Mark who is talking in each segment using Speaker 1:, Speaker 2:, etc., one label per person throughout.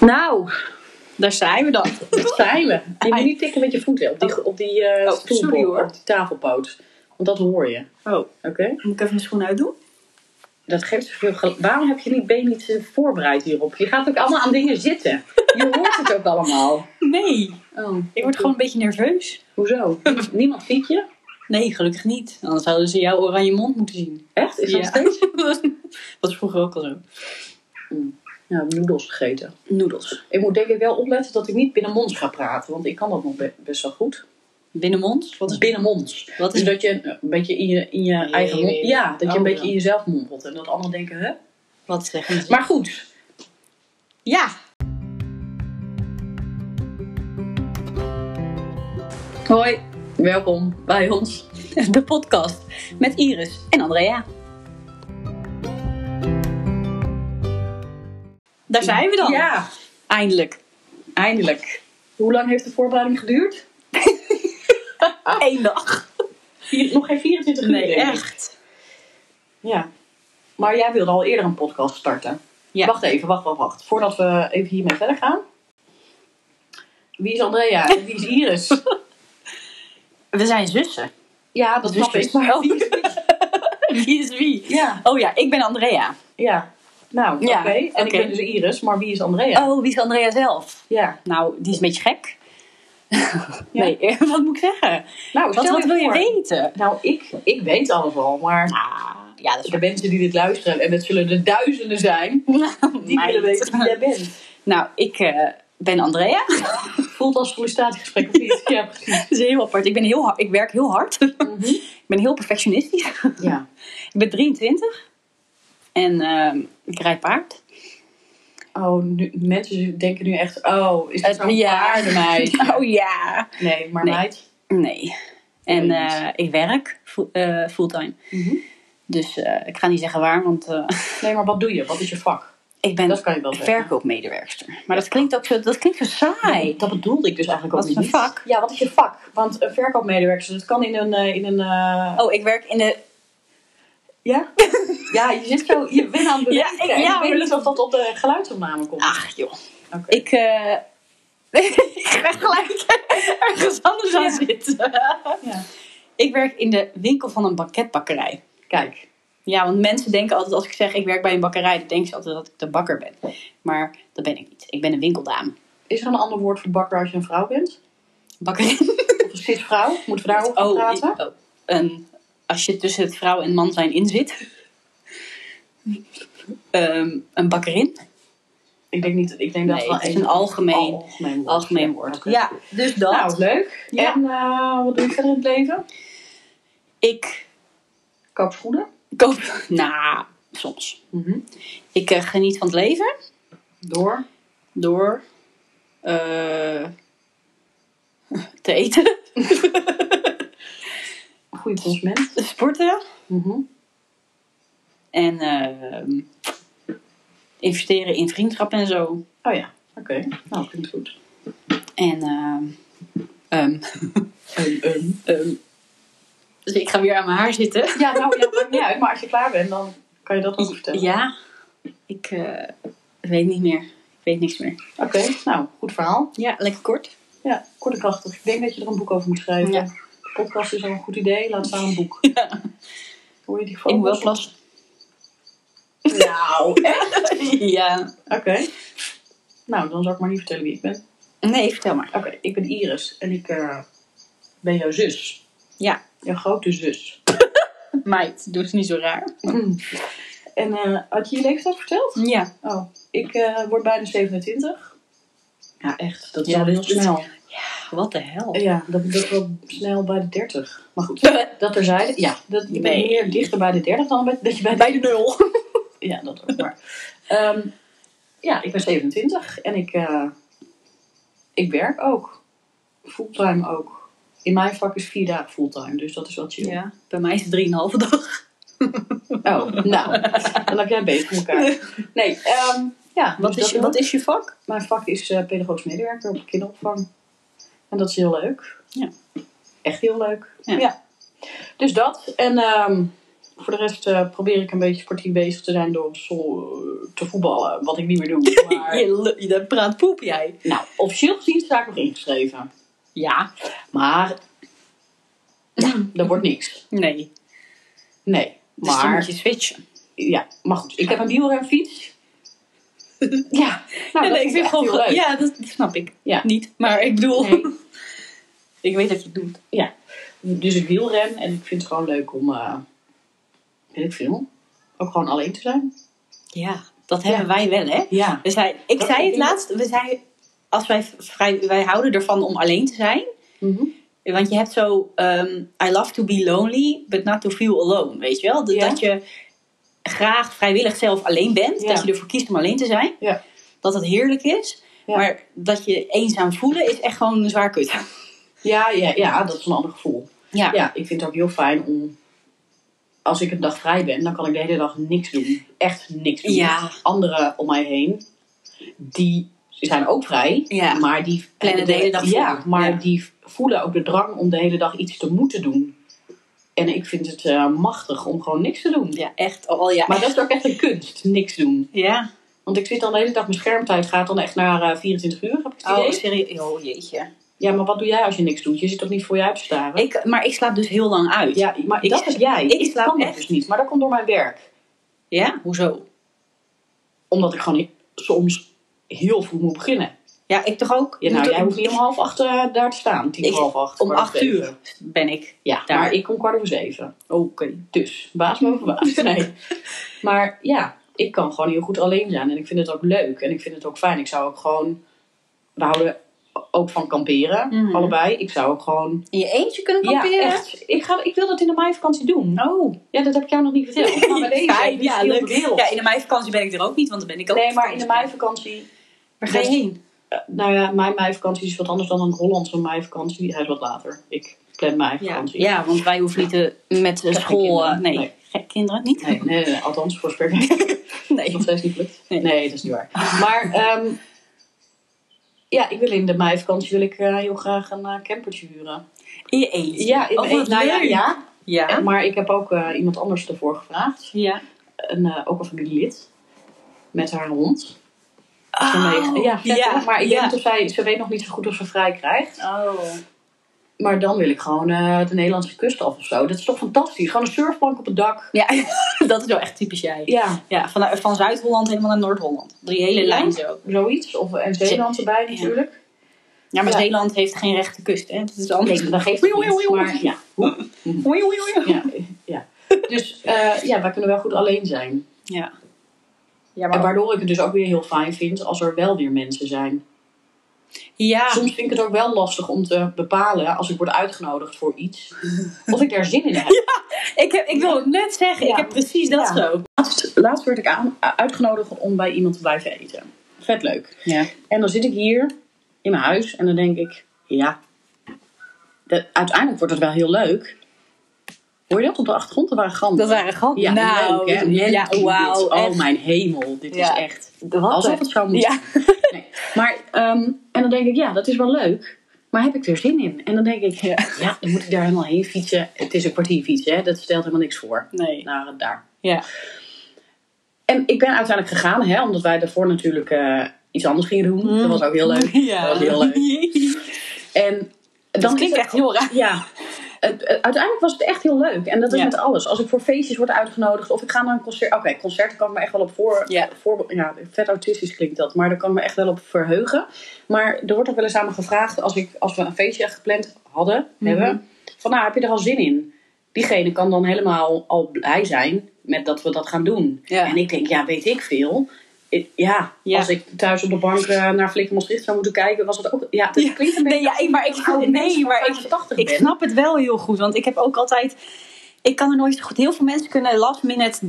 Speaker 1: Nou,
Speaker 2: Daar zijn we dan.
Speaker 1: dat zijn we. Je moet
Speaker 2: Ai.
Speaker 1: niet tikken met je voeten op die, op die eh
Speaker 2: Oh,
Speaker 1: stoelpoot,
Speaker 2: sorry, hoor.
Speaker 1: op die tafelpoot. Want dat hoor je,
Speaker 2: Oh,
Speaker 1: oké?
Speaker 2: moet ik even mijn schoen uitdoen?
Speaker 1: Dat geeft zoveel gel- Waarom heb je die been niet eh, voorbereid hierop? Je gaat ook allemaal aan dingen zitten. Je hoort het ook allemaal.
Speaker 2: Nee,
Speaker 1: Oh,
Speaker 2: ik word gewoon een beetje nerveus.
Speaker 1: Hoezo? Niemand ziet je?
Speaker 2: Nee, gelukkig niet. Anders zouden ze jouw oranje mond moeten zien.
Speaker 1: Echt? Is dat
Speaker 2: Ja.
Speaker 1: steeds?
Speaker 2: was vroeger ook al zo.
Speaker 1: Ja, Nou, noedels gegeten.
Speaker 2: Noedels.
Speaker 1: Ik moet denk ik wel opletten dat ik niet binnenmonds ga praten. Want ik kan dat nog be- best wel goed.
Speaker 2: Binnenmond? Wat is
Speaker 1: Binnenmonds.
Speaker 2: Wat
Speaker 1: Dus
Speaker 2: is
Speaker 1: dat je een een beetje in je, in je
Speaker 2: Nee,
Speaker 1: eigen mond...
Speaker 2: nee,
Speaker 1: ja,
Speaker 2: nee.
Speaker 1: dat je een
Speaker 2: Oh,
Speaker 1: beetje
Speaker 2: ja.
Speaker 1: in jezelf mompelt. En dat allemaal denken, hè?
Speaker 2: Wat zeggen ze?
Speaker 1: Maar goed.
Speaker 2: ja.
Speaker 1: Hoi. Welkom bij ons.
Speaker 2: De podcast met Iris en Andrea. Daar zijn we dan.
Speaker 1: Ja,
Speaker 2: Eindelijk.
Speaker 1: eindelijk. Hoe lang heeft de voorbereiding geduurd?
Speaker 2: Eén dag.
Speaker 1: Vier- nog geen 24 uur,
Speaker 2: Oh. Nee,
Speaker 1: denk ik.
Speaker 2: echt.
Speaker 1: Ja. Maar jij wilde al eerder een podcast starten.
Speaker 2: Ja.
Speaker 1: Wacht even, wacht, wacht, wacht. Voordat we even hiermee verder gaan. Wie is Andrea en wie is Iris?
Speaker 2: We zijn zussen.
Speaker 1: ja, dat snap
Speaker 2: Zusjes.
Speaker 1: ik. Maar wie is wie?
Speaker 2: Wie is wie?
Speaker 1: Ja,
Speaker 2: Oh ja, ik ben Andrea.
Speaker 1: ja. Nou,
Speaker 2: Ja,
Speaker 1: oké. En ik
Speaker 2: oké.
Speaker 1: ben dus Iris, maar wie is Andrea?
Speaker 2: Oh, wie is Andrea zelf?
Speaker 1: Ja.
Speaker 2: Nou, die is een beetje gek. Nee, wat moet ik zeggen?
Speaker 1: Nou,
Speaker 2: Wat,
Speaker 1: stel
Speaker 2: wat
Speaker 1: je
Speaker 2: wil je
Speaker 1: voor.
Speaker 2: weten?
Speaker 1: Nou, ik, ik weet alles al, maar
Speaker 2: Ah, ja, dat is
Speaker 1: de mensen die dit luisteren, en het zullen er duizenden zijn, die
Speaker 2: meid.
Speaker 1: willen weten wie jij bent.
Speaker 2: Nou, ik eh, ben Andrea.
Speaker 1: Voelt als sollicitatiegesprek of niet? Ja, precies. Mhm.
Speaker 2: Dat is heel apart. Ik, ben heel hard, ik werk heel hard. ik ben heel perfectionistisch.
Speaker 1: Ja.
Speaker 2: ik ben 23. En eh, ik rijd paard.
Speaker 1: Oh, nu, mensen denken nu echt, oh, is dat
Speaker 2: Het-
Speaker 1: zo'n
Speaker 2: Eh, ja.
Speaker 1: paardenmeisje?
Speaker 2: Oh ja.
Speaker 1: Nee, maar
Speaker 2: Nee.
Speaker 1: meid.
Speaker 2: Nee. En
Speaker 1: Nee,
Speaker 2: eh, ik werk fu- eh, fulltime.
Speaker 1: Mhm.
Speaker 2: Dus eh, ik ga niet zeggen waar, want eh,
Speaker 1: Nee, maar wat doe je? Wat is je vak?
Speaker 2: ik ben
Speaker 1: Dat kan je wel zeggen.
Speaker 2: verkoopmedewerkster. Maar dat klinkt ook zo, dat klinkt zo saai.
Speaker 1: Dat bedoelde ik dus eigenlijk ook
Speaker 2: Wat is
Speaker 1: niet.
Speaker 2: mijn vak?
Speaker 1: Ja, wat is je vak? Want een verkoopmedewerker, dat kan in een... eh, In een eh,
Speaker 2: Oh, ik werk in de.
Speaker 1: Ja? ja, je zit zo... Je bent aan het
Speaker 2: Ja,
Speaker 1: bewegen.
Speaker 2: ik-
Speaker 1: en
Speaker 2: ja,
Speaker 1: ik weet
Speaker 2: maar
Speaker 1: niet
Speaker 2: dat-
Speaker 1: of dat op de geluidsopname komt.
Speaker 2: Ach joh.
Speaker 1: Oké.
Speaker 2: Ik. eh ik ga gelijk ergens anders aan
Speaker 1: Ja.
Speaker 2: zitten.
Speaker 1: Ja.
Speaker 2: Ik werk in de winkel van een banketbakkerij.
Speaker 1: Kijk.
Speaker 2: Ja, want mensen denken altijd als ik zeg ik werk bij een bakkerij, dan denken ze altijd dat ik de bakker ben. Maar dat ben ik niet. Ik ben een winkeldame.
Speaker 1: Is er een ander woord voor bakker als je een vrouw bent?
Speaker 2: Bakker.
Speaker 1: Of een cisvrouw? Moeten we daarover
Speaker 2: Oh,
Speaker 1: praten?
Speaker 2: i- oh. Een- als je tussen het vrouw en man zijn in zit. Ehm, een bakkerin.
Speaker 1: Ik denk niet... Ik denk dat
Speaker 2: Nee,
Speaker 1: wel
Speaker 2: het is
Speaker 1: één-
Speaker 2: een algemeen,
Speaker 1: algemeen woord.
Speaker 2: algemeen
Speaker 1: Ja,
Speaker 2: woord.
Speaker 1: oké.
Speaker 2: Oh, Ja, dus dat.
Speaker 1: Nou, leuk.
Speaker 2: Ja.
Speaker 1: En eh, wat doe je verder in het leven?
Speaker 2: ik
Speaker 1: Koop schoenen.
Speaker 2: koop. Nou, soms. Ik eh, geniet van het leven.
Speaker 1: Door.
Speaker 2: door eh, te eten,
Speaker 1: Een goede consument.
Speaker 2: te sporten en ehm, investeren in vriendschap en zo.
Speaker 1: Oh ja, oké. Nou, klinkt goed.
Speaker 2: En ehm, ehm, ehm, dus ik ga weer aan mijn haar zitten.
Speaker 1: Ja, nou, ja, maakt niet uit. Maar als je klaar bent, dan kan je dat ook vertellen.
Speaker 2: Ja, ik eh, weet niet meer. Ik weet niks meer.
Speaker 1: Oké, nou, goed verhaal.
Speaker 2: Ja, lekker kort.
Speaker 1: Ja, kort en krachtig. Ik denk dat je er een boek over moet schrijven.
Speaker 2: Ja.
Speaker 1: De podcast is al een goed idee. Laat staan een boek. Hoor je die
Speaker 2: Ik
Speaker 1: vogels?
Speaker 2: moet wel plassen.
Speaker 1: Nou, echt?
Speaker 2: ja.
Speaker 1: Oké. Nou, dan zal ik maar niet vertellen wie ik ben.
Speaker 2: Nee, vertel maar.
Speaker 1: Oké, ik ben Iris. En ik eh, ben jouw zus.
Speaker 2: Ja.
Speaker 1: Jouw grote zus.
Speaker 2: Meid, doe het niet zo raar.
Speaker 1: Mm. En eh, had je je leeftijd verteld?
Speaker 2: Ja.
Speaker 1: Oh, ik eh, word bijna 27. Ja, echt. Dat is
Speaker 2: Ja,
Speaker 1: al heel
Speaker 2: dat is-
Speaker 1: snel.
Speaker 2: Wat de hel.
Speaker 1: Ja, dat dat wel snel bij de 30. Maar goed, dat terzijde. Ja, dat, je bent
Speaker 2: Nee.
Speaker 1: meer dichter bij de 30 dan bij, dat je bij de...
Speaker 2: Bij de nul.
Speaker 1: Ja, dat ook maar. Ehm, ja, ik ben 27 en ik, eh, ik werk ook. Fulltime ook. In mijn vak is vier dagen fulltime, dus dat is wat chill.
Speaker 2: Ja, bij mij is het 3,5 dag.
Speaker 1: Oh, nou, dan heb jij beter voor elkaar. Nee, ehm, ja.
Speaker 2: Wat
Speaker 1: dus
Speaker 2: is, je-
Speaker 1: dat
Speaker 2: wat is je vak?
Speaker 1: Mijn vak is eh, pedagogisch medewerker op kinderopvang. En dat is heel leuk.
Speaker 2: Ja.
Speaker 1: Echt heel leuk.
Speaker 2: Ja.
Speaker 1: Dus dat. En ehm, Voor de rest eh, probeer ik een beetje sportief bezig te zijn door op school eh, te voetballen. Wat ik niet meer doe. Maar,
Speaker 2: Je, lu- je dat praat poep jij.
Speaker 1: nou, officieel gezien sta ik nog ingeschreven.
Speaker 2: Ja.
Speaker 1: Maar ja, dat wordt niks.
Speaker 2: Nee.
Speaker 1: Nee.
Speaker 2: Dus dan
Speaker 1: Maar,
Speaker 2: moet je switchen.
Speaker 1: ja, maar goed, ik heb een wielrenfiets. ja, nou, dat
Speaker 2: nee,
Speaker 1: vind ik vind gewoon heel
Speaker 2: ge-
Speaker 1: leuk.
Speaker 2: Ja, dat, die snap ik.
Speaker 1: Ja.
Speaker 2: Niet. Maar ik bedoel...
Speaker 1: Nee.
Speaker 2: ik weet dat je het doet.
Speaker 1: Dus ik wielren en ik vind het gewoon leuk om, eh weet ik veel, ook gewoon alleen te zijn.
Speaker 2: Ja. Dat hebben wij wel, hè?
Speaker 1: Ja.
Speaker 2: We zijn, ik
Speaker 1: Dat
Speaker 2: zei
Speaker 1: vind
Speaker 2: het
Speaker 1: ik-
Speaker 2: laatst. We zijn, als wij, vrij, wij houden ervan om alleen te zijn.
Speaker 1: Mhm.
Speaker 2: Want je hebt zo, ehm, I love to be lonely, but not to feel alone, weet je wel? Dat,
Speaker 1: Ja.
Speaker 2: dat je graag vrijwillig zelf alleen bent,
Speaker 1: Ja.
Speaker 2: dat je ervoor kiest om alleen te zijn.
Speaker 1: Ja.
Speaker 2: Dat dat heerlijk is,
Speaker 1: Ja.
Speaker 2: maar dat je eenzaam voelen is echt gewoon een zwaar kut.
Speaker 1: Ja, ja, ja, dat is een ander gevoel.
Speaker 2: Ja.
Speaker 1: Ja, ik vind het ook heel fijn om, als ik een dag vrij ben, dan kan ik de hele dag niks doen. Echt niks doen.
Speaker 2: Ja.
Speaker 1: Anderen om mij heen, die zijn ook vrij,
Speaker 2: Ja.
Speaker 1: maar die
Speaker 2: Plannen de hele dag
Speaker 1: Ja,
Speaker 2: voor.
Speaker 1: maar
Speaker 2: Ja.
Speaker 1: die voelen ook de drang om de hele dag iets te moeten doen. En ik vind het eh, machtig om gewoon niks te doen.
Speaker 2: Ja, echt. Oh ja.
Speaker 1: Maar dat is ook echt een kunst, niks doen.
Speaker 2: ja.
Speaker 1: Want ik zit al de hele dag, mijn schermtijd gaat dan echt naar eh, 24 uur, heb ik het idee.
Speaker 2: Oh, serieus. Oh, jeetje.
Speaker 1: Ja, maar wat doe jij als je niks doet? Je zit toch niet voor je uit te staren?
Speaker 2: Ik, maar ik slaap dus heel lang uit.
Speaker 1: Ja, maar
Speaker 2: Ik-
Speaker 1: dat is jij.
Speaker 2: ik
Speaker 1: Ik,
Speaker 2: slaap
Speaker 1: kan
Speaker 2: echt.
Speaker 1: dat dus niet. Maar dat komt door mijn werk.
Speaker 2: Ja? Hoezo?
Speaker 1: Omdat ik gewoon he- soms heel vroeg moet beginnen.
Speaker 2: Ja, ik toch ook?
Speaker 1: Ja, nou,
Speaker 2: Moet-
Speaker 1: jij hoeft niet om half acht eh, daar te staan. Tien
Speaker 2: Ik-
Speaker 1: voor half acht.
Speaker 2: om
Speaker 1: kwart
Speaker 2: acht
Speaker 1: over zeven.
Speaker 2: uur ben ik.
Speaker 1: Ja,
Speaker 2: daar.
Speaker 1: maar ik kom kwart over zeven.
Speaker 2: Oké.
Speaker 1: Dus, baas boven baas. Nee. maar ja, ik kan gewoon heel goed alleen zijn. En ik vind het ook leuk. En ik vind het ook fijn. Ik zou ook gewoon... We houden ook van kamperen.
Speaker 2: Mhm.
Speaker 1: Allebei. Ik zou ook gewoon...
Speaker 2: In je eentje kunnen kamperen?
Speaker 1: Ja, echt. Ik, ga, ik wil dat in de meivakantie doen.
Speaker 2: Oh.
Speaker 1: Ja, dat heb ik jou nog niet verteld. Maar bij deze,
Speaker 2: Fijn,
Speaker 1: dit
Speaker 2: ja,
Speaker 1: scheelt
Speaker 2: leuk.
Speaker 1: de wereld.
Speaker 2: Ja, in de meivakantie ben ik er ook niet, want dan ben ik ook.
Speaker 1: Nee,
Speaker 2: op
Speaker 1: maar in de
Speaker 2: vakantie.
Speaker 1: meivakantie.
Speaker 2: Waar ga je heen?
Speaker 1: eh, nou ja, mijn meivakantie is wat anders dan een Hollandse meivakantie. Hij is wat later. Ik plan mijn
Speaker 2: Ja.
Speaker 1: vakantie.
Speaker 2: ja, want wij hoeven niet te, met de
Speaker 1: Geen
Speaker 2: school.
Speaker 1: kinderen.
Speaker 2: eh, nee.
Speaker 1: Nee.
Speaker 2: Geen kinderen niet?
Speaker 1: Nee, nee, nee, althans, voor zover ik weet, is
Speaker 2: Nee.
Speaker 1: nog steeds niet gelukt.
Speaker 2: Nee.
Speaker 1: Nee. dat is niet waar. Maar ehm, ja, ik wil in de meivakantie wil ik, eh, heel graag een eh, campertje huren.
Speaker 2: In je eentje.
Speaker 1: Ja, in
Speaker 2: Oh, wat
Speaker 1: een- nou ja,
Speaker 2: leuk.
Speaker 1: ja,
Speaker 2: Ja.
Speaker 1: maar ik heb ook eh, iemand anders ervoor gevraagd.
Speaker 2: Ja.
Speaker 1: Een, eh, ook een familielid. Met haar hond.
Speaker 2: Oh,
Speaker 1: Vanwege- ja, vet, hè? maar ik
Speaker 2: ja.
Speaker 1: denk dat zij, ze weet nog niet zo goed of ze vrij krijgt.
Speaker 2: Oh.
Speaker 1: Maar dan wil ik gewoon eh, de Nederlandse kust af of zo. Dat is toch fantastisch? Gewoon een surfplank op het dak.
Speaker 2: Ja, dat is wel echt typisch jij.
Speaker 1: Ja,
Speaker 2: Ja, van, van Zuid-Holland helemaal naar Noord-Holland. Drie hele
Speaker 1: Ja.
Speaker 2: lijn zo.
Speaker 1: zoiets. Of en Zeeland erbij natuurlijk.
Speaker 2: Ja, maar
Speaker 1: Ja.
Speaker 2: Zeeland heeft geen rechte kust, hè? Dat is anders.
Speaker 1: Nee, dat geeft het
Speaker 2: Oei, oei, oei,
Speaker 1: niet.
Speaker 2: oei.
Speaker 1: Maar ja,
Speaker 2: Oei, oei, oei.
Speaker 1: ja, ja. Dus eh, ja, wij kunnen wel goed alleen zijn.
Speaker 2: Ja. Ja,
Speaker 1: En
Speaker 2: maar...
Speaker 1: waardoor ik het dus ook weer heel fijn vind als er wel weer mensen zijn.
Speaker 2: Ja.
Speaker 1: Soms vind ik het ook wel lastig om te bepalen als ik word uitgenodigd voor iets. Of ik daar zin in heb.
Speaker 2: Ik, heb, ik wil het net zeggen, ik
Speaker 1: Ja.
Speaker 2: heb precies dat
Speaker 1: Ja.
Speaker 2: zo.
Speaker 1: Laatst, laatst werd ik aan, eh, uitgenodigd om bij iemand te blijven eten. Vet leuk.
Speaker 2: Ja.
Speaker 1: En dan zit ik hier in mijn huis en dan denk ik, ja, de- uiteindelijk wordt het wel heel leuk. Hoor je dat op de achtergrond? Dat waren ganzen.
Speaker 2: Dat waren gewoon.
Speaker 1: ja,
Speaker 2: nou,
Speaker 1: leuk, hè?
Speaker 2: ja,
Speaker 1: Leuk,
Speaker 2: wauw.
Speaker 1: dit. Oh
Speaker 2: echt.
Speaker 1: mijn hemel, dit
Speaker 2: Ja.
Speaker 1: is echt
Speaker 2: Wat
Speaker 1: alsof
Speaker 2: een-
Speaker 1: het zou moeten.
Speaker 2: Ja.
Speaker 1: Nee. Maar, ehm, en dan denk ik, ja, dat is wel leuk. Maar heb ik er zin in? En dan denk ik, ja, dan moet ik daar helemaal heen fietsen. Het is een kwartier fietsen, hè? dat stelt helemaal niks voor.
Speaker 2: Nee.
Speaker 1: Nou, daar.
Speaker 2: Ja.
Speaker 1: En ik ben uiteindelijk gegaan, hè, omdat wij daarvoor natuurlijk eh, iets anders gingen doen. Dat was ook heel leuk.
Speaker 2: Ja.
Speaker 1: Dat was heel leuk. En
Speaker 2: Mm. Dat
Speaker 1: dan is
Speaker 2: klinkt
Speaker 1: het,
Speaker 2: echt heel raar.
Speaker 1: Ja. Het, het- uiteindelijk was het echt heel leuk. En dat is
Speaker 2: Ja.
Speaker 1: met alles. Als ik voor feestjes word uitgenodigd of ik ga naar een concert. Oké, concerten kan ik me echt wel op voor.
Speaker 2: Ja.
Speaker 1: voor ja, vet autistisch klinkt dat. Maar daar kan ik me echt wel op verheugen. Maar er wordt ook wel eens aan me gevraagd. Als, ik, als we een feestje gepland hadden.
Speaker 2: Mhm.
Speaker 1: hebben, van nou, heb je er al zin in? Diegene kan dan helemaal al blij zijn met dat we dat gaan doen.
Speaker 2: Ja.
Speaker 1: En ik denk, ja, weet ik veel. Ik- ja,
Speaker 2: Ja.
Speaker 1: als ik thuis op de bank eh, naar Flikker Maastricht zou moeten kijken, was het ook... Ja, het
Speaker 2: Ja.
Speaker 1: klinkt een beetje
Speaker 2: Nee, ja, ik- maar ik,
Speaker 1: oude
Speaker 2: nee, maar ik,
Speaker 1: 85
Speaker 2: ik snap het wel heel goed. Want ik heb ook altijd. Ik kan er nooit zo goed. Heel veel mensen kunnen last minute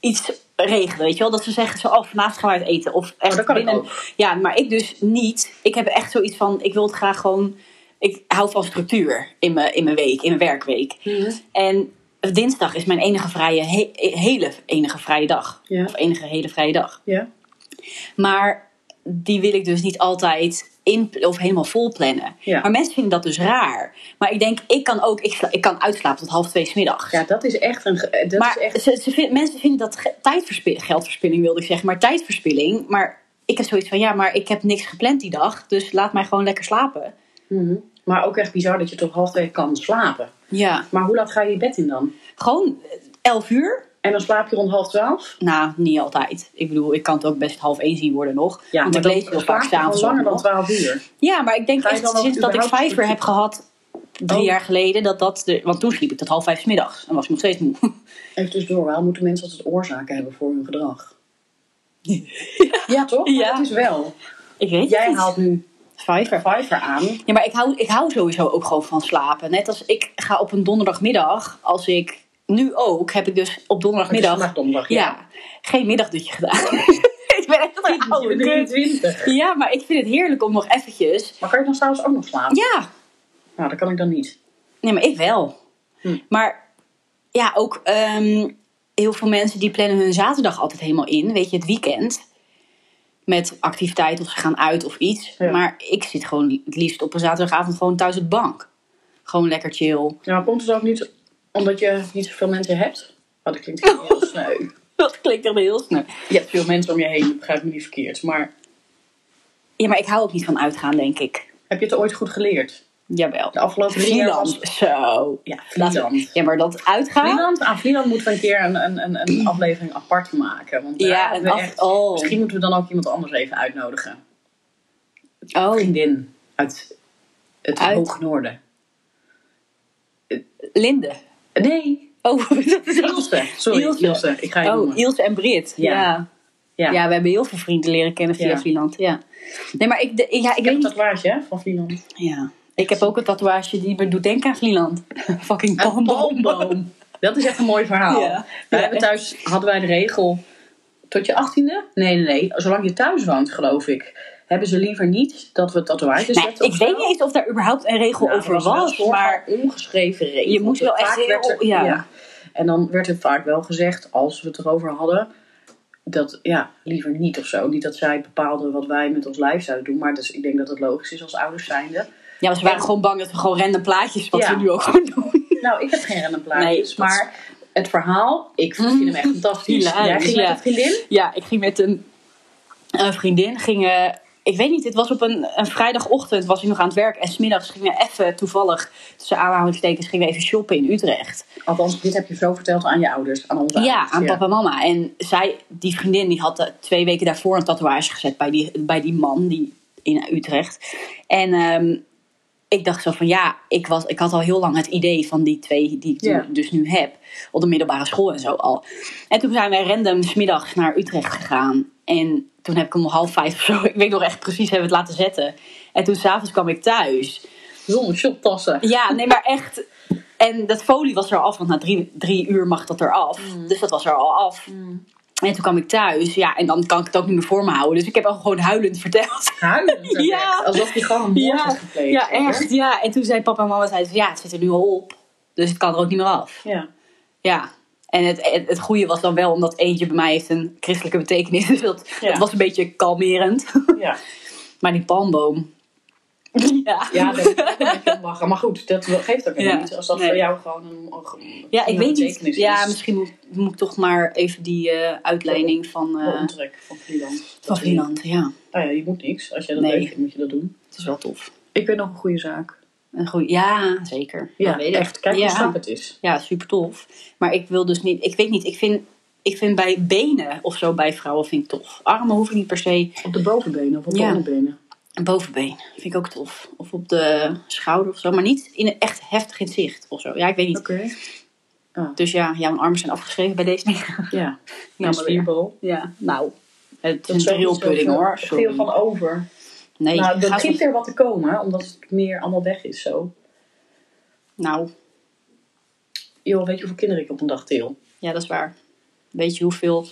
Speaker 2: iets regelen. Weet je wel? Dat ze zeggen zo, oh, vanavond gaan we uit eten. Of echt
Speaker 1: Oh, dat kan ik
Speaker 2: binnen.
Speaker 1: ook.
Speaker 2: Ja, maar ik dus niet. Ik heb echt zoiets van. Ik wil het graag gewoon. Ik hou van structuur in mijn, in mijn week, in mijn werkweek. En dinsdag is mijn enige vrije, he- hele enige vrije dag.
Speaker 1: Ja.
Speaker 2: Of enige hele vrije dag.
Speaker 1: Ja.
Speaker 2: Maar die wil ik dus niet altijd in, of helemaal vol plannen.
Speaker 1: Ja.
Speaker 2: Maar mensen vinden dat dus raar. Maar ik denk, ik kan ook, ik, sla- ik kan uitslapen tot half twee smiddags.
Speaker 1: Ja, dat is echt een. ge- eh, Dat
Speaker 2: maar
Speaker 1: is echt.
Speaker 2: ze, ze vind- mensen vinden dat ge- tijdverspilling, geldverspilling wilde ik zeggen, maar tijdverspilling. Maar ik heb zoiets van, ja, maar ik heb niks gepland die dag, dus laat mij gewoon lekker slapen.
Speaker 1: Mhm. Maar ook echt bizar dat je tot half twee kan slapen.
Speaker 2: Ja.
Speaker 1: Maar hoe laat ga je je bed in dan?
Speaker 2: Gewoon eh, elf uur?
Speaker 1: En dan slaap je rond half twaalf?
Speaker 2: Nou, niet altijd. Ik bedoel, ik kan het ook best half él zien worden nog. Ja, want ik
Speaker 1: dan
Speaker 2: lees heel
Speaker 1: slaap
Speaker 2: vaak
Speaker 1: je gewoon
Speaker 2: s'avonds ook
Speaker 1: langer dan
Speaker 2: nog.
Speaker 1: twaalf uur.
Speaker 2: Ja, maar ik denk
Speaker 1: Ga je
Speaker 2: echt
Speaker 1: dan ook
Speaker 2: sinds dat ik
Speaker 1: überhaupt-
Speaker 2: vijf uur heb gehad, drie
Speaker 1: Oh.
Speaker 2: jaar geleden, dat dat de, want toen sliep ik tot half vijf 's middags en was ik nog steeds moe.
Speaker 1: Even tussendoor, waarom moeten mensen altijd oorzaken hebben voor hun gedrag? ja, toch?
Speaker 2: Ja.
Speaker 1: Ja. Dat is wel.
Speaker 2: Ik weet het
Speaker 1: Jij
Speaker 2: niet.
Speaker 1: haalt nu
Speaker 2: Fiverr.
Speaker 1: Fiverr aan.
Speaker 2: Ja, maar ik hou, ik hou sowieso ook gewoon van slapen. Net als ik ga op een donderdagmiddag, als ik nu ook, heb ik dus op donderdagmiddag.
Speaker 1: Maar donderdag.
Speaker 2: ja. geen middagdutje gedaan. ik ben echt een
Speaker 1: Je
Speaker 2: oude
Speaker 1: bent
Speaker 2: kut.
Speaker 1: 23.
Speaker 2: Ja, maar ik vind het heerlijk om nog eventjes.
Speaker 1: Maar kan je dan s'avonds ook nog slapen?
Speaker 2: Ja,
Speaker 1: Nou, dat kan ik dan niet.
Speaker 2: nee, maar ik wel.
Speaker 1: Hm.
Speaker 2: Maar ja, ook ehm, heel veel mensen die plannen hun zaterdag altijd helemaal in. Weet je, het weekend. Met activiteit of ze gaan uit of iets.
Speaker 1: Ja.
Speaker 2: Maar ik zit gewoon het liefst op een zaterdagavond gewoon thuis op de bank. Gewoon lekker chill.
Speaker 1: Ja, maar Nou, komt het ook niet omdat je niet zoveel mensen hebt? Oh, dat klinkt heel sneu.
Speaker 2: Dat klinkt echt heel snel.
Speaker 1: Je hebt veel mensen om je heen, dat begrijp me niet verkeerd. Maar
Speaker 2: Ja, maar ik hou ook niet van uitgaan, denk ik.
Speaker 1: heb je het ooit goed geleerd?
Speaker 2: Jawel.
Speaker 1: De afgelopen drie jaar was...
Speaker 2: Vlieland. Zo.
Speaker 1: Ja,
Speaker 2: Laten we-
Speaker 1: Vlieland.
Speaker 2: Ja, maar dat uitgaan.
Speaker 1: Vlieland? Aan Vlieland moeten we een keer een, een, een, een aflevering apart maken. Want daar
Speaker 2: Mm. Ja,
Speaker 1: hebben
Speaker 2: en
Speaker 1: we
Speaker 2: af.
Speaker 1: echt...
Speaker 2: Oh.
Speaker 1: Misschien moeten we dan ook iemand anders even uitnodigen.
Speaker 2: oh.
Speaker 1: Vriendin uit het
Speaker 2: Uit?
Speaker 1: Hoge Noorden.
Speaker 2: Linde.
Speaker 1: Nee,
Speaker 2: Oh, dat is
Speaker 1: Ilse. Sorry,
Speaker 2: Ilse.
Speaker 1: Ilse. Ik ga je
Speaker 2: Oh,
Speaker 1: noemen.
Speaker 2: Ilse en Brit. Ja.
Speaker 1: Ja.
Speaker 2: Ja.
Speaker 1: Ja.
Speaker 2: we hebben heel veel vrienden leren kennen via
Speaker 1: Ja.
Speaker 2: Vlieland. Ja. Nee, maar ik, de- ja, ik
Speaker 1: Ik heb
Speaker 2: weet
Speaker 1: een
Speaker 2: niet.
Speaker 1: tatoeage hè, van Vlieland.
Speaker 2: Ja. Ik heb ook een tatoeage die me doet denken aan Vlieland. Fucking Nou,
Speaker 1: Een
Speaker 2: boom, boom.
Speaker 1: palmboom. Dat is echt een mooi verhaal.
Speaker 2: Ja.
Speaker 1: Wij
Speaker 2: Ja,
Speaker 1: hebben
Speaker 2: echt.
Speaker 1: thuis hadden wij de regel tot je achttiende? Nee, nee, nee. Zolang je thuis woont, geloof ik, hebben ze liever niet dat we tatoeages
Speaker 2: Nee,
Speaker 1: zetten of
Speaker 2: ik weet
Speaker 1: zo.
Speaker 2: niet eens of daar überhaupt een regel
Speaker 1: Nou, er
Speaker 2: over
Speaker 1: was wel een
Speaker 2: was.
Speaker 1: soort
Speaker 2: Maar
Speaker 1: van ongeschreven regel.
Speaker 2: Je moest wel
Speaker 1: Vaak
Speaker 2: echt heel-
Speaker 1: werd er-
Speaker 2: ja.
Speaker 1: En dan werd er vaak wel gezegd, als we het erover hadden, dat ja, liever niet of zo. Niet dat zij bepaalden wat wij met ons lijf zouden doen, maar dus ik denk dat het logisch is als ouders zijnde.
Speaker 2: ja, maar ze waren gewoon bang dat we gewoon random plaatjes, wat
Speaker 1: Ja.
Speaker 2: we nu ook gewoon doen.
Speaker 1: Nou, ik heb geen random
Speaker 2: Nee,
Speaker 1: plaatjes,
Speaker 2: dat- Mhm.
Speaker 1: maar het verhaal, ik vind hem echt fantastisch.
Speaker 2: Hilarisch,
Speaker 1: Jij ging
Speaker 2: ja.
Speaker 1: met een vriendin?
Speaker 2: Ja, ik ging met een, een vriendin. Ging, eh, ik weet niet, het was op een, een vrijdagochtend was ik nog aan het werk. En smiddags gingen we even toevallig, tussen aanhalingstekens, gingen we even shoppen in Utrecht.
Speaker 1: Althans, dit heb je zo verteld aan je ouders, aan onze
Speaker 2: ja,
Speaker 1: ouders.
Speaker 2: aan papa en mama. En zij, die vriendin, die had eh, twee weken daarvoor een tatoeage gezet bij die, bij die man die, in Utrecht. En ehm, ik dacht zo van ja, ik, was, ik had al heel lang het idee van die twee die ik toen-
Speaker 1: Ja.
Speaker 2: dus nu heb. Op de middelbare school en zo al. En toen zijn wij random smiddags naar Utrecht gegaan. En toen heb ik hem om half vijf of zo, ik weet nog echt precies, hebben we het laten zetten. En toen s'avonds kwam ik thuis.
Speaker 1: Zonder shoptassen.
Speaker 2: Ja, nee, maar echt. En dat folie was er al af, want na drie, drie uur mag dat er af.
Speaker 1: Mm.
Speaker 2: Dus dat was er al af. En toen kwam ik thuis, ja, en dan kan ik het ook niet meer voor me houden. Dus ik heb al gewoon huilend verteld.
Speaker 1: Huilend. ook
Speaker 2: Ja.
Speaker 1: echt. Alsof je gewoon een moord
Speaker 2: Ja,
Speaker 1: had gepleegd.
Speaker 2: ja,
Speaker 1: hoor.
Speaker 2: echt, ja. En toen zei papa en mama, zeiden ze, ja, het zit er nu al op. Dus het kan er ook niet meer af.
Speaker 1: Ja.
Speaker 2: Ja. En het, het, het goede was dan wel, omdat eentje bij mij heeft een christelijke betekenis. Dus dat,
Speaker 1: Ja.
Speaker 2: dat was een beetje kalmerend.
Speaker 1: Ja.
Speaker 2: Maar die palmboom. Ja.
Speaker 1: Ja, daar moet je om lachen. Maar goed, dat geeft ook helemaal
Speaker 2: Ja.
Speaker 1: niet. Als dat
Speaker 2: Nee.
Speaker 1: voor jou gewoon een, een
Speaker 2: Ja, ik
Speaker 1: een
Speaker 2: weet niet.
Speaker 1: betekenis
Speaker 2: Ja,
Speaker 1: is.
Speaker 2: misschien moet, moet ik toch maar even die eh, uitleiding van,
Speaker 1: Een
Speaker 2: eh
Speaker 1: omtrek van Vlieland.
Speaker 2: van Finland. Ja,
Speaker 1: Nou ja, je moet niks. Als jij dat
Speaker 2: Nee.
Speaker 1: leuk vindt, moet je dat doen.
Speaker 2: het is wel tof.
Speaker 1: Ik weet nog een goede zaak.
Speaker 2: Een goeie, ja, zeker.
Speaker 1: Ja,
Speaker 2: Dat Nou, weet ik.
Speaker 1: echt. Kijk hoe
Speaker 2: ja.
Speaker 1: strak het is.
Speaker 2: ja, super tof. Maar ik wil dus niet, ik weet niet, ik vind, ik vind bij benen of zo bij vrouwen vind ik tof. Armen hoef ik niet per se.
Speaker 1: Op de bovenbenen of op
Speaker 2: Ja.
Speaker 1: de onderbenen.
Speaker 2: Een bovenbeen vind ik ook tof. Of op de schouder of zo. Maar niet in een echt heftig in het zicht of zo. Ja, ik weet niet.
Speaker 1: Oké.
Speaker 2: Dus ja, ja, mijn armen zijn afgeschreven bij deze. Nou,
Speaker 1: Ja.
Speaker 2: maar
Speaker 1: Nou,
Speaker 2: weer.
Speaker 1: spierbal.
Speaker 2: Ja, nou. Het is
Speaker 1: Dat is
Speaker 2: een
Speaker 1: ook niet
Speaker 2: drillpudding
Speaker 1: zoveel-
Speaker 2: hoor.
Speaker 1: Veel
Speaker 2: Sorry.
Speaker 1: van over.
Speaker 2: Nee,
Speaker 1: nou, er
Speaker 2: ga zo-
Speaker 1: begint er wat te komen, omdat het meer allemaal weg is zo.
Speaker 2: nou.
Speaker 1: Joh, weet je hoeveel kinderen ik op een dag teel?
Speaker 2: Ja, dat is waar. Weet je hoeveel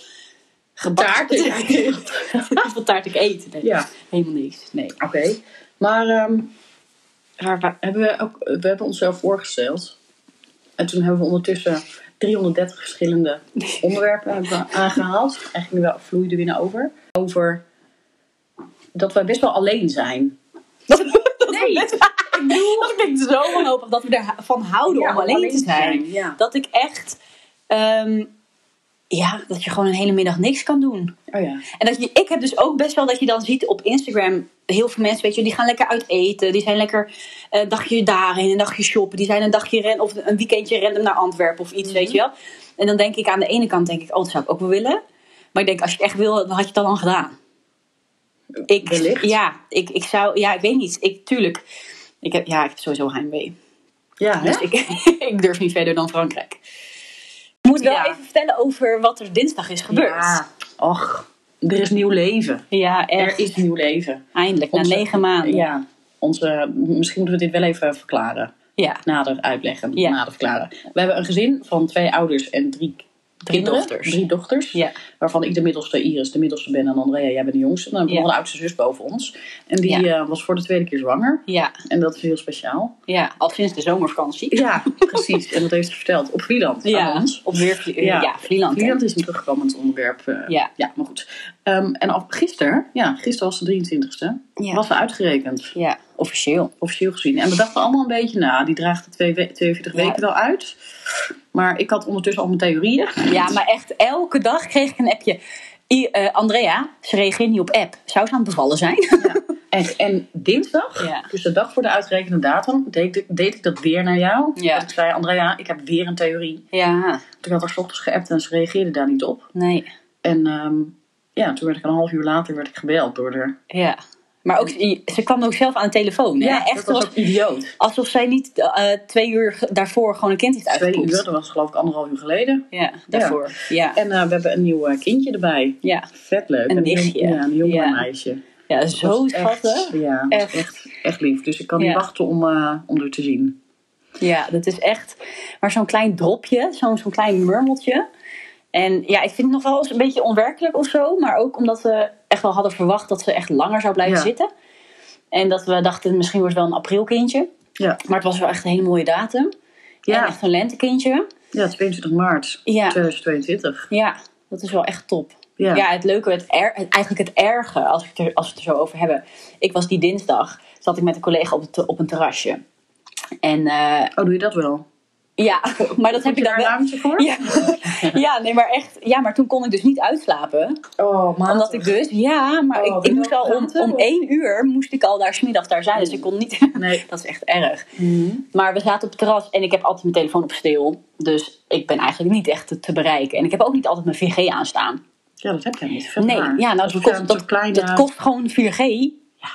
Speaker 2: gebak- hoeveel taart ik eet? Nee,
Speaker 1: ja,
Speaker 2: helemaal niks. Nee.
Speaker 1: oké. Maar ehm,
Speaker 2: Maar waar-
Speaker 1: hebben we, ook, we hebben onszelf voorgesteld. En toen hebben we ondertussen 330 verschillende onderwerpen hebben we aangehaald. Eigenlijk nu wel vloeide weer naar over. Over dat wij best wel alleen zijn.
Speaker 2: Nee, ik bedoel, dat ik zo wanhopig dat we ervan houden
Speaker 1: Ja,
Speaker 2: Oh, om alleen te zijn.
Speaker 1: Ja.
Speaker 2: Dat ik echt, ehm, ja, dat je gewoon een hele middag niks kan doen.
Speaker 1: Oh ja.
Speaker 2: En dat je, ik heb dus ook best wel dat je dan ziet op Instagram heel veel mensen, weet je, die gaan lekker uit eten. Die zijn lekker eh, een dagje daarheen, een dagje shoppen. Die zijn een dagje ren of een weekendje random naar Antwerpen of iets, weet je wel. En dan denk ik aan de ene kant, denk ik, oh, dat zou ik ook wel willen. Maar ik denk, als je het echt wil, dan had je het al lang gedaan. Ik,
Speaker 1: Wellicht.
Speaker 2: Ja, ik, ik zou, ja, ik weet niet. Ik, tuurlijk. Ik heb, ja, ik heb sowieso heimwee.
Speaker 1: Ja, hè?
Speaker 2: Dus ik, ik durf niet verder dan Frankrijk. Ik moet wel
Speaker 1: Ja.
Speaker 2: even vertellen over wat er dinsdag is gebeurd.
Speaker 1: Ja. Och, er is nieuw leven.
Speaker 2: Ja, echt.
Speaker 1: Er is nieuw leven.
Speaker 2: Eindelijk,
Speaker 1: Onze-
Speaker 2: na negen maanden. Ja.
Speaker 1: Ja. Onze, misschien moeten we dit wel even verklaren.
Speaker 2: Ja.
Speaker 1: Nader uitleggen.
Speaker 2: Ja.
Speaker 1: Nader verklaren. We hebben een gezin van twee ouders en drie, kinderen.
Speaker 2: dochters.
Speaker 1: Drie dochters.
Speaker 2: Ja.
Speaker 1: Waarvan ik de middelste Iris, de middelste ben en Andrea, jij bent de jongste. En dan hebben we
Speaker 2: Ja.
Speaker 1: nog een oudste zus boven ons. En die eh, was voor de tweede keer zwanger.
Speaker 2: ja.
Speaker 1: En dat is heel speciaal.
Speaker 2: Al sinds de zomervakantie.
Speaker 1: Ja, precies. En dat heeft ze verteld op Vlieland aan ons.
Speaker 2: Op weer
Speaker 1: Ja.
Speaker 2: ja. ja, Vlieland.
Speaker 1: Vlieland is een terugkomend onderwerp. eh,
Speaker 2: Ja.
Speaker 1: ja, maar goed. Ehm, en af, gisteren, ja, gisteren was de 23e,
Speaker 2: Ja.
Speaker 1: was ze uitgerekend,
Speaker 2: ja, officieel.
Speaker 1: officieel gezien. En we dachten allemaal een beetje, nou, die draagt de twee we- 42
Speaker 2: Ja.
Speaker 1: weken wel uit. Maar ik had ondertussen al mijn theorieën.
Speaker 2: Ja, maar echt elke dag kreeg ik een appje. I- eh, Andrea, ze reageert niet op app. Zou ze aan het bevallen zijn?
Speaker 1: En, en dinsdag,
Speaker 2: Ja.
Speaker 1: dus de dag voor de uitgerekende datum, deed ik, deed ik dat weer naar jou.
Speaker 2: Ja.
Speaker 1: Dat ik zei, Andrea, ik heb weer een theorie.
Speaker 2: Ja,
Speaker 1: Toen had ik haar 's ochtends geappt en ze reageerde daar niet op.
Speaker 2: nee.
Speaker 1: En ehm, ja, toen werd ik een half uur later werd ik gebeld door haar.
Speaker 2: Ja. Maar ook, ze kwam ook zelf aan de telefoon. hè? echt
Speaker 1: dat was
Speaker 2: alsof,
Speaker 1: ook idioot.
Speaker 2: alsof zij niet eh, twee uur ge- daarvoor gewoon een kind heeft
Speaker 1: Twee uur,
Speaker 2: uitgepoept.
Speaker 1: dat was geloof ik anderhalf uur geleden.
Speaker 2: Ja, daarvoor. Ja.
Speaker 1: En eh, we hebben een nieuw eh, kindje erbij.
Speaker 2: Ja.
Speaker 1: Vet leuk.
Speaker 2: Een
Speaker 1: jong-
Speaker 2: nichtje.
Speaker 1: Ja, een jonger
Speaker 2: Ja.
Speaker 1: meisje.
Speaker 2: ja. zo
Speaker 1: Dat is echt- eh,
Speaker 2: schattig.
Speaker 1: Ja, dat is
Speaker 2: Echt.
Speaker 1: echt, echt lief. Dus ik kan
Speaker 2: Ja.
Speaker 1: niet wachten om, eh, om er te zien.
Speaker 2: Ja, dat is echt maar zo'n klein dropje, zo'n zo'n klein murmeltje. En ja, ik vind het nog wel eens een beetje onwerkelijk of zo. Maar ook omdat we echt wel hadden verwacht dat ze echt langer zou blijven
Speaker 1: Ja.
Speaker 2: zitten. En dat we dachten, misschien wordt het wel een aprilkindje.
Speaker 1: Ja,
Speaker 2: Maar het was wel echt een hele mooie datum. En
Speaker 1: ja.
Speaker 2: echt een lentekindje.
Speaker 1: ja 22 maart
Speaker 2: Ja,
Speaker 1: 2022.
Speaker 2: ja, dat is wel echt top.
Speaker 1: Ja.
Speaker 2: Ja, het leuke, het er, het- eigenlijk het erge, als, ik er, als we het er zo over hebben. Ik was die dinsdag, zat ik met een collega op, het, op een terrasje. En eh,
Speaker 1: Oh, doe je dat wel?
Speaker 2: ja, maar dat heb
Speaker 1: Heb je
Speaker 2: ik dan
Speaker 1: daar
Speaker 2: wel...
Speaker 1: een ruimte voor?
Speaker 2: Ja, ja, nee, maar echt. Ja, maar toen kon ik dus niet uitslapen.
Speaker 1: Oh, maar
Speaker 2: Omdat ik dus, ja, maar
Speaker 1: Oh,
Speaker 2: ik, ik
Speaker 1: wil
Speaker 2: moest
Speaker 1: je
Speaker 2: al
Speaker 1: ook
Speaker 2: om,
Speaker 1: praten,
Speaker 2: om
Speaker 1: of?
Speaker 2: één uur moest ik al daar smiddag daar zijn. Dus ik kon niet.
Speaker 1: Nee.
Speaker 2: Dat is echt erg. Maar we zaten op het terras en ik heb altijd mijn telefoon op stil. Dus ik ben eigenlijk niet echt te, te bereiken. En ik heb ook niet altijd mijn 4G aanstaan.
Speaker 1: Ja, dat heb jij niet. Vet
Speaker 2: Nee,
Speaker 1: raar.
Speaker 2: ja, nou,
Speaker 1: Alsof
Speaker 2: dat kost,
Speaker 1: jij een
Speaker 2: dat,
Speaker 1: te kleine-
Speaker 2: dat kost gewoon 4G.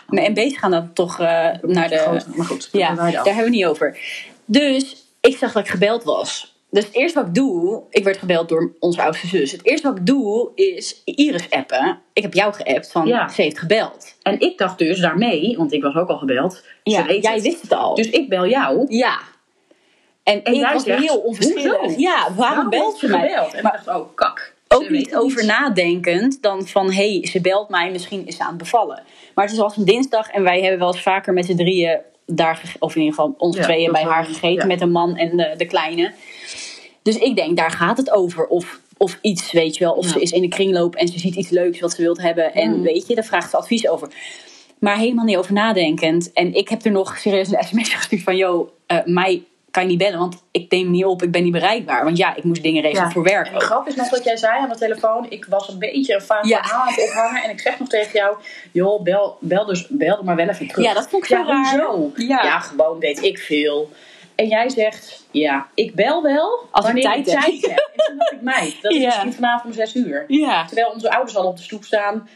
Speaker 2: Mijn MB's gaan dan toch eh, naar de.
Speaker 1: grote- Maar goed, dat
Speaker 2: Ja,
Speaker 1: doen wij
Speaker 2: daar
Speaker 1: dan.
Speaker 2: hebben we het niet over. Dus ik zag dat ik gebeld was. Dus het eerste wat ik doe, ik werd gebeld door onze oudste zus. Het eerste wat ik doe is Iris appen. Ik heb jou geappt van
Speaker 1: Ja.
Speaker 2: ze heeft gebeld.
Speaker 1: En ik dacht dus daarmee, want ik was ook al gebeld.
Speaker 2: Ja,
Speaker 1: ze weet
Speaker 2: jij
Speaker 1: het.
Speaker 2: wist het al.
Speaker 1: Dus ik bel jou.
Speaker 2: ja. En,
Speaker 1: En
Speaker 2: ik
Speaker 1: jij
Speaker 2: was
Speaker 1: zegt,
Speaker 2: heel onverschillig.
Speaker 1: "Hoezo?
Speaker 2: Ja, waarom belt
Speaker 1: heeft
Speaker 2: ze mij?
Speaker 1: gebeld? En
Speaker 2: Maar
Speaker 1: ik dacht, oh kak.
Speaker 2: ook
Speaker 1: Ze
Speaker 2: niet
Speaker 1: weten het
Speaker 2: over nadenkend dan van hé, hey, ze belt mij, misschien is ze aan het bevallen. Maar het is als een dinsdag en wij hebben wel eens vaker met z'n drieën daar, gege- of in ieder geval ons
Speaker 1: Ja,
Speaker 2: tweeën
Speaker 1: dat
Speaker 2: bij
Speaker 1: wel.
Speaker 2: haar gegeten
Speaker 1: Ja.
Speaker 2: met een man en de, de kleine. Dus ik denk, daar gaat het over. Of, of iets, weet je wel. Of
Speaker 1: Ja.
Speaker 2: ze is in de kringloop en ze ziet iets leuks wat ze wilt hebben. En
Speaker 1: Mm.
Speaker 2: weet je, daar vraagt ze advies over. Maar helemaal niet over nadenkend. En ik heb er nog serieus een sms gestuurd van... joh, eh, mij kan je niet bellen, want ik neem niet op. Ik ben niet bereikbaar. Want ja, ik moest dingen regelen
Speaker 1: Ja.
Speaker 2: voor werk
Speaker 1: En
Speaker 2: ook.
Speaker 1: de grap is nog dat jij zei aan de telefoon, ik was een beetje een vaag
Speaker 2: Ja.
Speaker 1: verhaal aan het ophangen. En ik zeg nog tegen jou, joh, bel, bel, dus, bel er maar wel even terug.
Speaker 2: Ja, dat vond ik
Speaker 1: ja,
Speaker 2: zo raar.
Speaker 1: hoezo?
Speaker 2: Ja.
Speaker 1: Ja. gewoon weet ik veel. En jij zegt, ja, ik bel wel
Speaker 2: Als ik
Speaker 1: wanneer
Speaker 2: tijd heb.
Speaker 1: heb. En toen dacht ik, meid, dat is
Speaker 2: Ja.
Speaker 1: misschien vanavond om zes uur.
Speaker 2: Ja,
Speaker 1: Terwijl onze ouders al op de stoep staan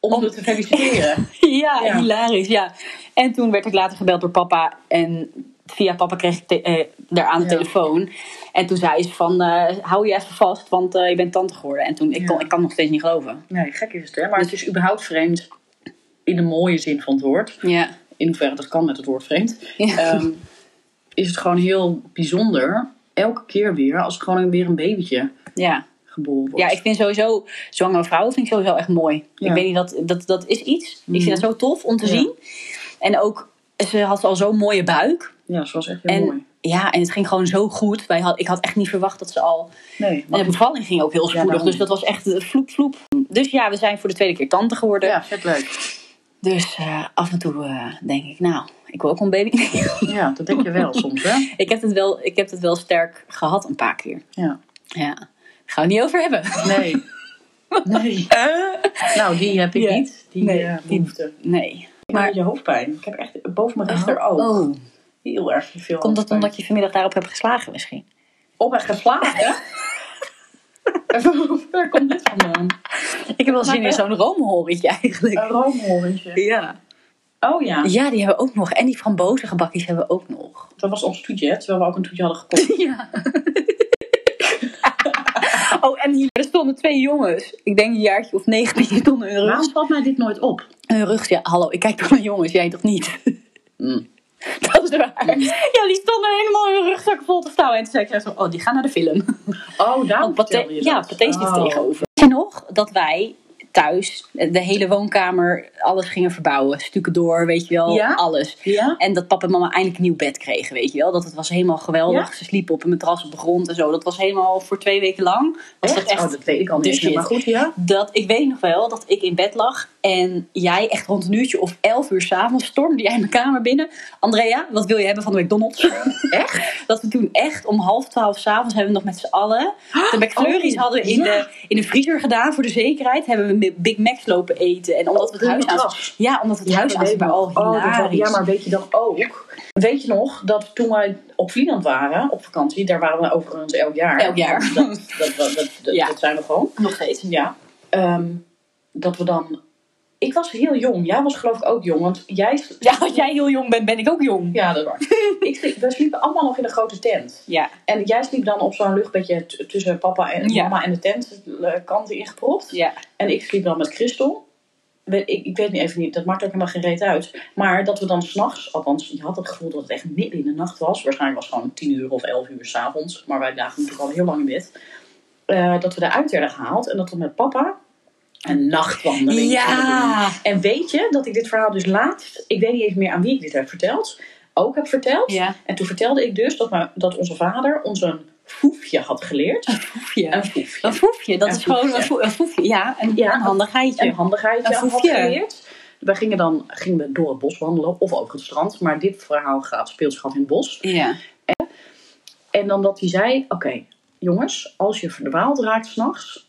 Speaker 1: om,
Speaker 2: Om-
Speaker 1: om te feliciteren.
Speaker 2: ja,
Speaker 1: Ja.
Speaker 2: hilarisch, ja. En toen werd ik later gebeld door papa. En via papa kreeg ik te- eh, daar aan de
Speaker 1: Ja.
Speaker 2: telefoon. En toen zei ze van, eh, hou je even vast, want eh, je bent tante geworden. En toen, ik,
Speaker 1: Ja.
Speaker 2: kon, ik kan het nog steeds niet geloven.
Speaker 1: Nee, gek is het, hè? Maar het is überhaupt vreemd in de mooie zin van het woord.
Speaker 2: Ja.
Speaker 1: in hoeverre dat kan met het woord vreemd,
Speaker 2: Ja.
Speaker 1: ehm, is het gewoon heel bijzonder. Elke keer weer, als er gewoon weer een babytje
Speaker 2: Ja.
Speaker 1: geboren wordt.
Speaker 2: ja, ik vind sowieso, zwangere vrouwen vind ik sowieso echt mooi.
Speaker 1: Ja. Mhm.
Speaker 2: Ik weet niet, dat, dat, dat is iets. Ik vind dat zo tof om te
Speaker 1: Ja.
Speaker 2: zien. En ook, ze had al zo'n mooie buik.
Speaker 1: ja, ze was echt heel
Speaker 2: en
Speaker 1: mooi.
Speaker 2: ja, en het ging gewoon zo goed. Wij had, ik had echt niet verwacht dat ze al
Speaker 1: Nee,
Speaker 2: En
Speaker 1: maar
Speaker 2: de bevalling ging ook heel spoedig,
Speaker 1: daarom.
Speaker 2: dus dat was echt eh, vloep vloep. Dus ja, we zijn voor de tweede keer tante geworden.
Speaker 1: ja, vet leuk.
Speaker 2: Dus eh, af en toe eh, denk ik, nou, ik wil ook een baby.
Speaker 1: Ja, dat denk je wel soms, hè?
Speaker 2: ik, heb het wel, ik heb het wel sterk gehad een paar keer.
Speaker 1: Ja.
Speaker 2: Ja, daar gaan we het niet over hebben.
Speaker 1: Nee. Nee. Nou, die heb ik
Speaker 2: Ja.
Speaker 1: niet. Die
Speaker 2: Nee,
Speaker 1: eh,
Speaker 2: die-
Speaker 1: behoefte.
Speaker 2: Nee,
Speaker 1: Maar
Speaker 2: Maar-
Speaker 1: je hoofdpijn. Ik heb echt boven mijn rechter
Speaker 2: oh.
Speaker 1: ook heel erg veel.
Speaker 2: Komt dat
Speaker 1: hoofdpijn.
Speaker 2: omdat je vanmiddag daarop hebt geslagen misschien?
Speaker 1: op en geslagen? Waar komt dit vandaan?
Speaker 2: Ik heb wel zin in
Speaker 1: Maar-
Speaker 2: zo'n roomhorentje eigenlijk.
Speaker 1: Een roomhoorntje.
Speaker 2: Ja.
Speaker 1: Oh ja,
Speaker 2: Oh. ja, die hebben we ook nog. En die frambozengebakjes hebben we ook nog.
Speaker 1: dat was ons toetje, hè, terwijl we ook een toetje hadden gekocht.
Speaker 2: Ja. oh, en hier er stonden twee jongens. Ik denk een jaartje of negen. Die stonden hun rug.
Speaker 1: Waarom valt mij dit nooit op?
Speaker 2: Hun rug ja, hallo, ik kijk toch naar jongens, jij toch niet?
Speaker 1: Hmm.
Speaker 2: Dat is waar. Ja, die stonden helemaal hun rugzak vol te stouwen. En toen zei ik zo, oh, die gaan naar de film.
Speaker 1: Oh,
Speaker 2: Want
Speaker 1: daarom
Speaker 2: Pathé,
Speaker 1: vertelde je
Speaker 2: ja,
Speaker 1: dat.
Speaker 2: Pathé is
Speaker 1: Oh.
Speaker 2: tegenover. Weet je nog dat wij thuis de hele woonkamer alles gingen verbouwen? Stukken door, weet je wel,
Speaker 1: Ja?
Speaker 2: alles.
Speaker 1: Ja?
Speaker 2: En dat papa en mama eindelijk een nieuw bed kregen, weet je wel. Dat het was helemaal geweldig. Ze sliepen op een matras op de grond en zo. Dat was helemaal voor twee weken lang. Was
Speaker 1: Echt?
Speaker 2: dat echt
Speaker 1: Oh, dat weet ik al
Speaker 2: de
Speaker 1: niet. meer,
Speaker 2: shit.
Speaker 1: Maar goed, ja.
Speaker 2: dat ik weet nog wel dat ik in bed lag en jij echt rond een uurtje of elf uur s'avonds stormde jij mijn kamer binnen. Andrea, wat wil je hebben van de McDonald's? Echt? Dat we toen echt om half twaalf s'avonds hebben we nog met z'n allen de McFlurries
Speaker 1: oh,
Speaker 2: hadden we in,
Speaker 1: ja.
Speaker 2: de, in de vriezer gedaan voor de zekerheid. Hebben we Big Macs lopen eten en
Speaker 1: Oh,
Speaker 2: omdat we het huis aan ja, omdat we het huis aan
Speaker 1: maar
Speaker 2: al hilarisch.
Speaker 1: Ja, maar Oh, weet je dan ook... Weet je nog dat toen wij op Vlieland waren, op vakantie... Daar waren we overigens elk jaar.
Speaker 2: Elk jaar.
Speaker 1: Want Dat, dat, dat, dat, dat-
Speaker 2: Ja.
Speaker 1: dat zijn we gewoon.
Speaker 2: nog steeds.
Speaker 1: Ja. Ehm, dat we dan... Ik was heel jong. Jij was geloof ik ook jong. Want jij...
Speaker 2: Ja, als jij heel jong bent, ben ik ook jong.
Speaker 1: Ja, dat was. ik, sliep- we sliepen allemaal nog in een grote tent.
Speaker 2: Ja,
Speaker 1: En jij sliep dan op zo'n luchtbedje t- tussen papa en
Speaker 2: Ja.
Speaker 1: mama en de tent, eh, kanten ingepropt.
Speaker 2: ja.
Speaker 1: En ik sliep dan met Christel. We- Ik, ik weet niet even niet, dat maakt ook helemaal geen reet uit. Maar dat we dan s'nachts, althans, je had het gevoel dat het echt midden in de nacht was. Waarschijnlijk was het gewoon tien uur of elf uur s'avonds. Maar wij lagen natuurlijk al heel lang in bed. Eh, dat we daaruit werden gehaald en dat we met papa een nachtwandeling gingen doen.
Speaker 2: Ja.
Speaker 1: En weet je dat ik dit verhaal dus laatst, ik weet niet even meer aan wie ik dit heb verteld, ook heb verteld.
Speaker 2: Ja.
Speaker 1: En toen vertelde ik dus dat, mijn- dat onze vader ons een foefje had geleerd. Een foefje.
Speaker 2: Een foefje, dat
Speaker 1: Een
Speaker 2: is gewoon een,
Speaker 1: foefje.
Speaker 2: foe- een foefje. Ja, een,
Speaker 1: Ja,
Speaker 2: een handigheidje.
Speaker 1: Een handigheidje
Speaker 2: Een
Speaker 1: had
Speaker 2: foefje.
Speaker 1: geleerd. We gingen dan gingen we door het bos wandelen of over het strand. Maar dit verhaal gaat, speelt zich af in het bos.
Speaker 2: Ja.
Speaker 1: En dan dat hij zei, oké jongens, als je verdwaald raakt s'nachts,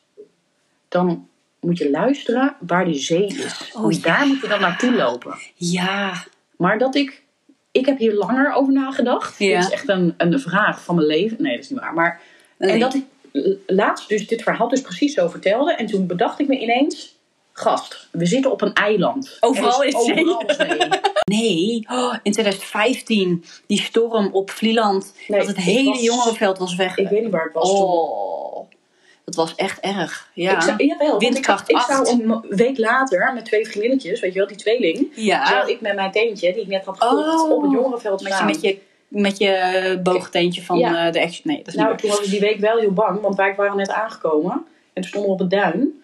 Speaker 1: dan moet je luisteren waar de zee is.
Speaker 2: Oh,
Speaker 1: Want daar moet je dan naartoe lopen.
Speaker 2: Ja.
Speaker 1: Maar dat ik. Ik heb hier langer over nagedacht.
Speaker 2: Ja.
Speaker 1: Dit is echt een, een vraag van mijn leven. Nee, dat is niet waar. Maar, En
Speaker 2: Nee.
Speaker 1: dat ik laatst dus dit verhaal dus precies zo vertelde. En toen bedacht ik me ineens... Gast, we zitten op een eiland.
Speaker 2: Overal
Speaker 1: Er
Speaker 2: is zee.
Speaker 1: overal zee.
Speaker 2: Nee, oh, in 2015, die storm op Vlieland.
Speaker 1: Nee,
Speaker 2: dat het
Speaker 1: ik
Speaker 2: hele
Speaker 1: was-
Speaker 2: jongerenveld was weg.
Speaker 1: Ik weet niet waar het was toen.
Speaker 2: oh, dat was echt erg. Ja.
Speaker 1: Ik zou, jawel, want
Speaker 2: Windkracht
Speaker 1: ik, ik zou
Speaker 2: acht.
Speaker 1: een week later met twee vriendinnetjes, weet je wel, die tweeling...
Speaker 2: ja.
Speaker 1: Terwijl ik met mijn teentje, die ik net had gekocht,
Speaker 2: Ah. Oh.
Speaker 1: op het jongerenveld
Speaker 2: Met je,
Speaker 1: staan.
Speaker 2: met je, met je boogteentje van
Speaker 1: Ja.
Speaker 2: eh, de action. Nee, dat is
Speaker 1: Nou,
Speaker 2: niet
Speaker 1: toen was ik die week wel heel bang, want wij waren net aangekomen. En toen stonden we op het duin.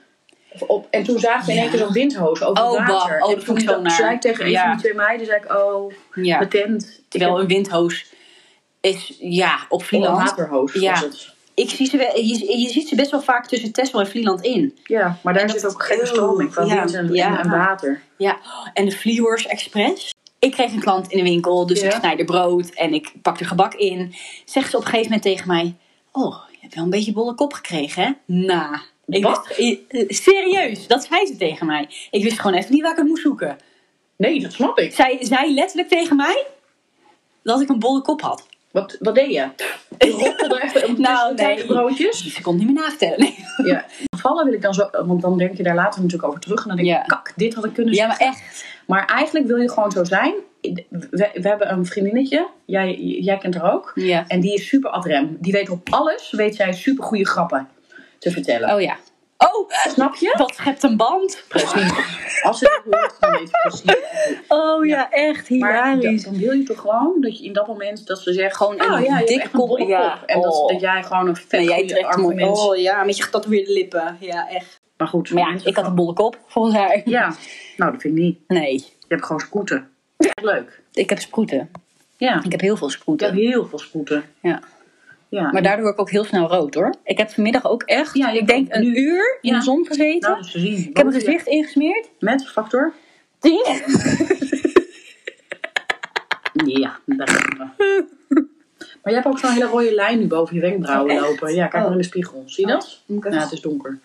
Speaker 1: Of Op, en toen zagen we in één
Speaker 2: Ja.
Speaker 1: keer zo'n windhoos over
Speaker 2: Oh,
Speaker 1: het
Speaker 2: bah.
Speaker 1: water.
Speaker 2: Oh, dat
Speaker 1: en toen
Speaker 2: vond ik zo naar.
Speaker 1: zei ik tegen een
Speaker 2: Ja.
Speaker 1: van die twee meiden, zei ik, oh,
Speaker 2: waar. Ja.
Speaker 1: mijn tent. Ik
Speaker 2: Terwijl
Speaker 1: heb
Speaker 2: een windhoos is, ja, op
Speaker 1: een
Speaker 2: Vlieland.
Speaker 1: waterhoos
Speaker 2: Ja.
Speaker 1: was het.
Speaker 2: Ik zie ze, wel- je, je ziet ze best wel vaak tussen Texel en Vlieland in.
Speaker 1: Ja, maar daar
Speaker 2: En
Speaker 1: zit
Speaker 2: dat-
Speaker 1: ook geen
Speaker 2: Oeh,
Speaker 1: stroming van
Speaker 2: ja,
Speaker 1: wind en,
Speaker 2: ja.
Speaker 1: en- en water.
Speaker 2: Ja, en de Fleur's Express. Ik kreeg een klant in de winkel, dus
Speaker 1: Ja.
Speaker 2: ik snijde brood en ik pakte gebak in. Zegt ze op een gegeven moment tegen mij: Oh, je hebt wel een beetje bolle kop gekregen, hè? Na. Ik
Speaker 1: Wat?
Speaker 2: wist- i- eh, serieus, dat zei ze tegen mij. Ik wist gewoon even niet waar ik het moest zoeken.
Speaker 1: Nee, dat snap ik.
Speaker 2: Zij zei letterlijk tegen mij dat ik een bolle kop had.
Speaker 1: Wat, wat deed je? Je roffelde echt een
Speaker 2: Nou, nee.
Speaker 1: broodjes.
Speaker 2: Ze kon het niet meer navertellen. Nee.
Speaker 1: Ja. Vallen wil ik dan zo, want dan denk je daar later natuurlijk over terug. En dan denk je,
Speaker 2: Ja.
Speaker 1: kak, dit had ik kunnen
Speaker 2: Ja, maar echt.
Speaker 1: Maar eigenlijk wil je gewoon zo zijn. We, we hebben een vriendinnetje, jij, jij kent haar ook.
Speaker 2: Ja.
Speaker 1: En die is super adrem. Die weet op alles, weet zij super goede grappen te vertellen.
Speaker 2: Oh ja. Oh,
Speaker 1: Snap je?
Speaker 2: dat schept een band.
Speaker 1: Precies. Als het hoort, dan weet je precies.
Speaker 2: Oh ja, echt
Speaker 1: Maar dan,
Speaker 2: hilarisch.
Speaker 1: dan wil je toch gewoon dat je in dat moment dat ze zeggen gewoon
Speaker 2: een
Speaker 1: je hebt
Speaker 2: dikke
Speaker 1: echt een
Speaker 2: kop,
Speaker 1: bolle
Speaker 2: ja.
Speaker 1: kop. En dat,
Speaker 2: Oh.
Speaker 1: dat jij gewoon een vet
Speaker 2: Nee, jij
Speaker 1: goede
Speaker 2: trekt
Speaker 1: arm
Speaker 2: mooi.
Speaker 1: mens.
Speaker 2: Oh ja, met je getatoeëerde lippen. Ja, echt.
Speaker 1: Maar goed.
Speaker 2: Maar ja,
Speaker 1: mensen
Speaker 2: ik had een
Speaker 1: van-
Speaker 2: bolle kop, volgens haar.
Speaker 1: Ja, nou dat vind ik niet.
Speaker 2: Nee,
Speaker 1: Je hebt gewoon sproeten. Echt leuk.
Speaker 2: ik heb sproeten.
Speaker 1: Ja.
Speaker 2: Ik heb heel veel
Speaker 1: Je hebt
Speaker 2: sproeten.
Speaker 1: heel veel sproeten.
Speaker 2: Ja.
Speaker 1: Ja.
Speaker 2: Maar daardoor word ik ook heel snel rood hoor. Ik heb vanmiddag ook echt,
Speaker 1: Ja, je
Speaker 2: ik denk een uur in
Speaker 1: Ja.
Speaker 2: de zon gezeten.
Speaker 1: nou, dus te zien.
Speaker 2: ik heb mijn gezicht ingesmeerd.
Speaker 1: Met factor
Speaker 2: tien.
Speaker 1: Ja, daar gaan we. Maar jij hebt ook zo'n hele rode lijn nu boven je wenkbrauwen
Speaker 2: Oh, echt?
Speaker 1: lopen. Ja, kijk maar
Speaker 2: Oh.
Speaker 1: in de spiegel. Zie je dat?
Speaker 2: Moet ik
Speaker 1: Ja,
Speaker 2: even-
Speaker 1: het is donker.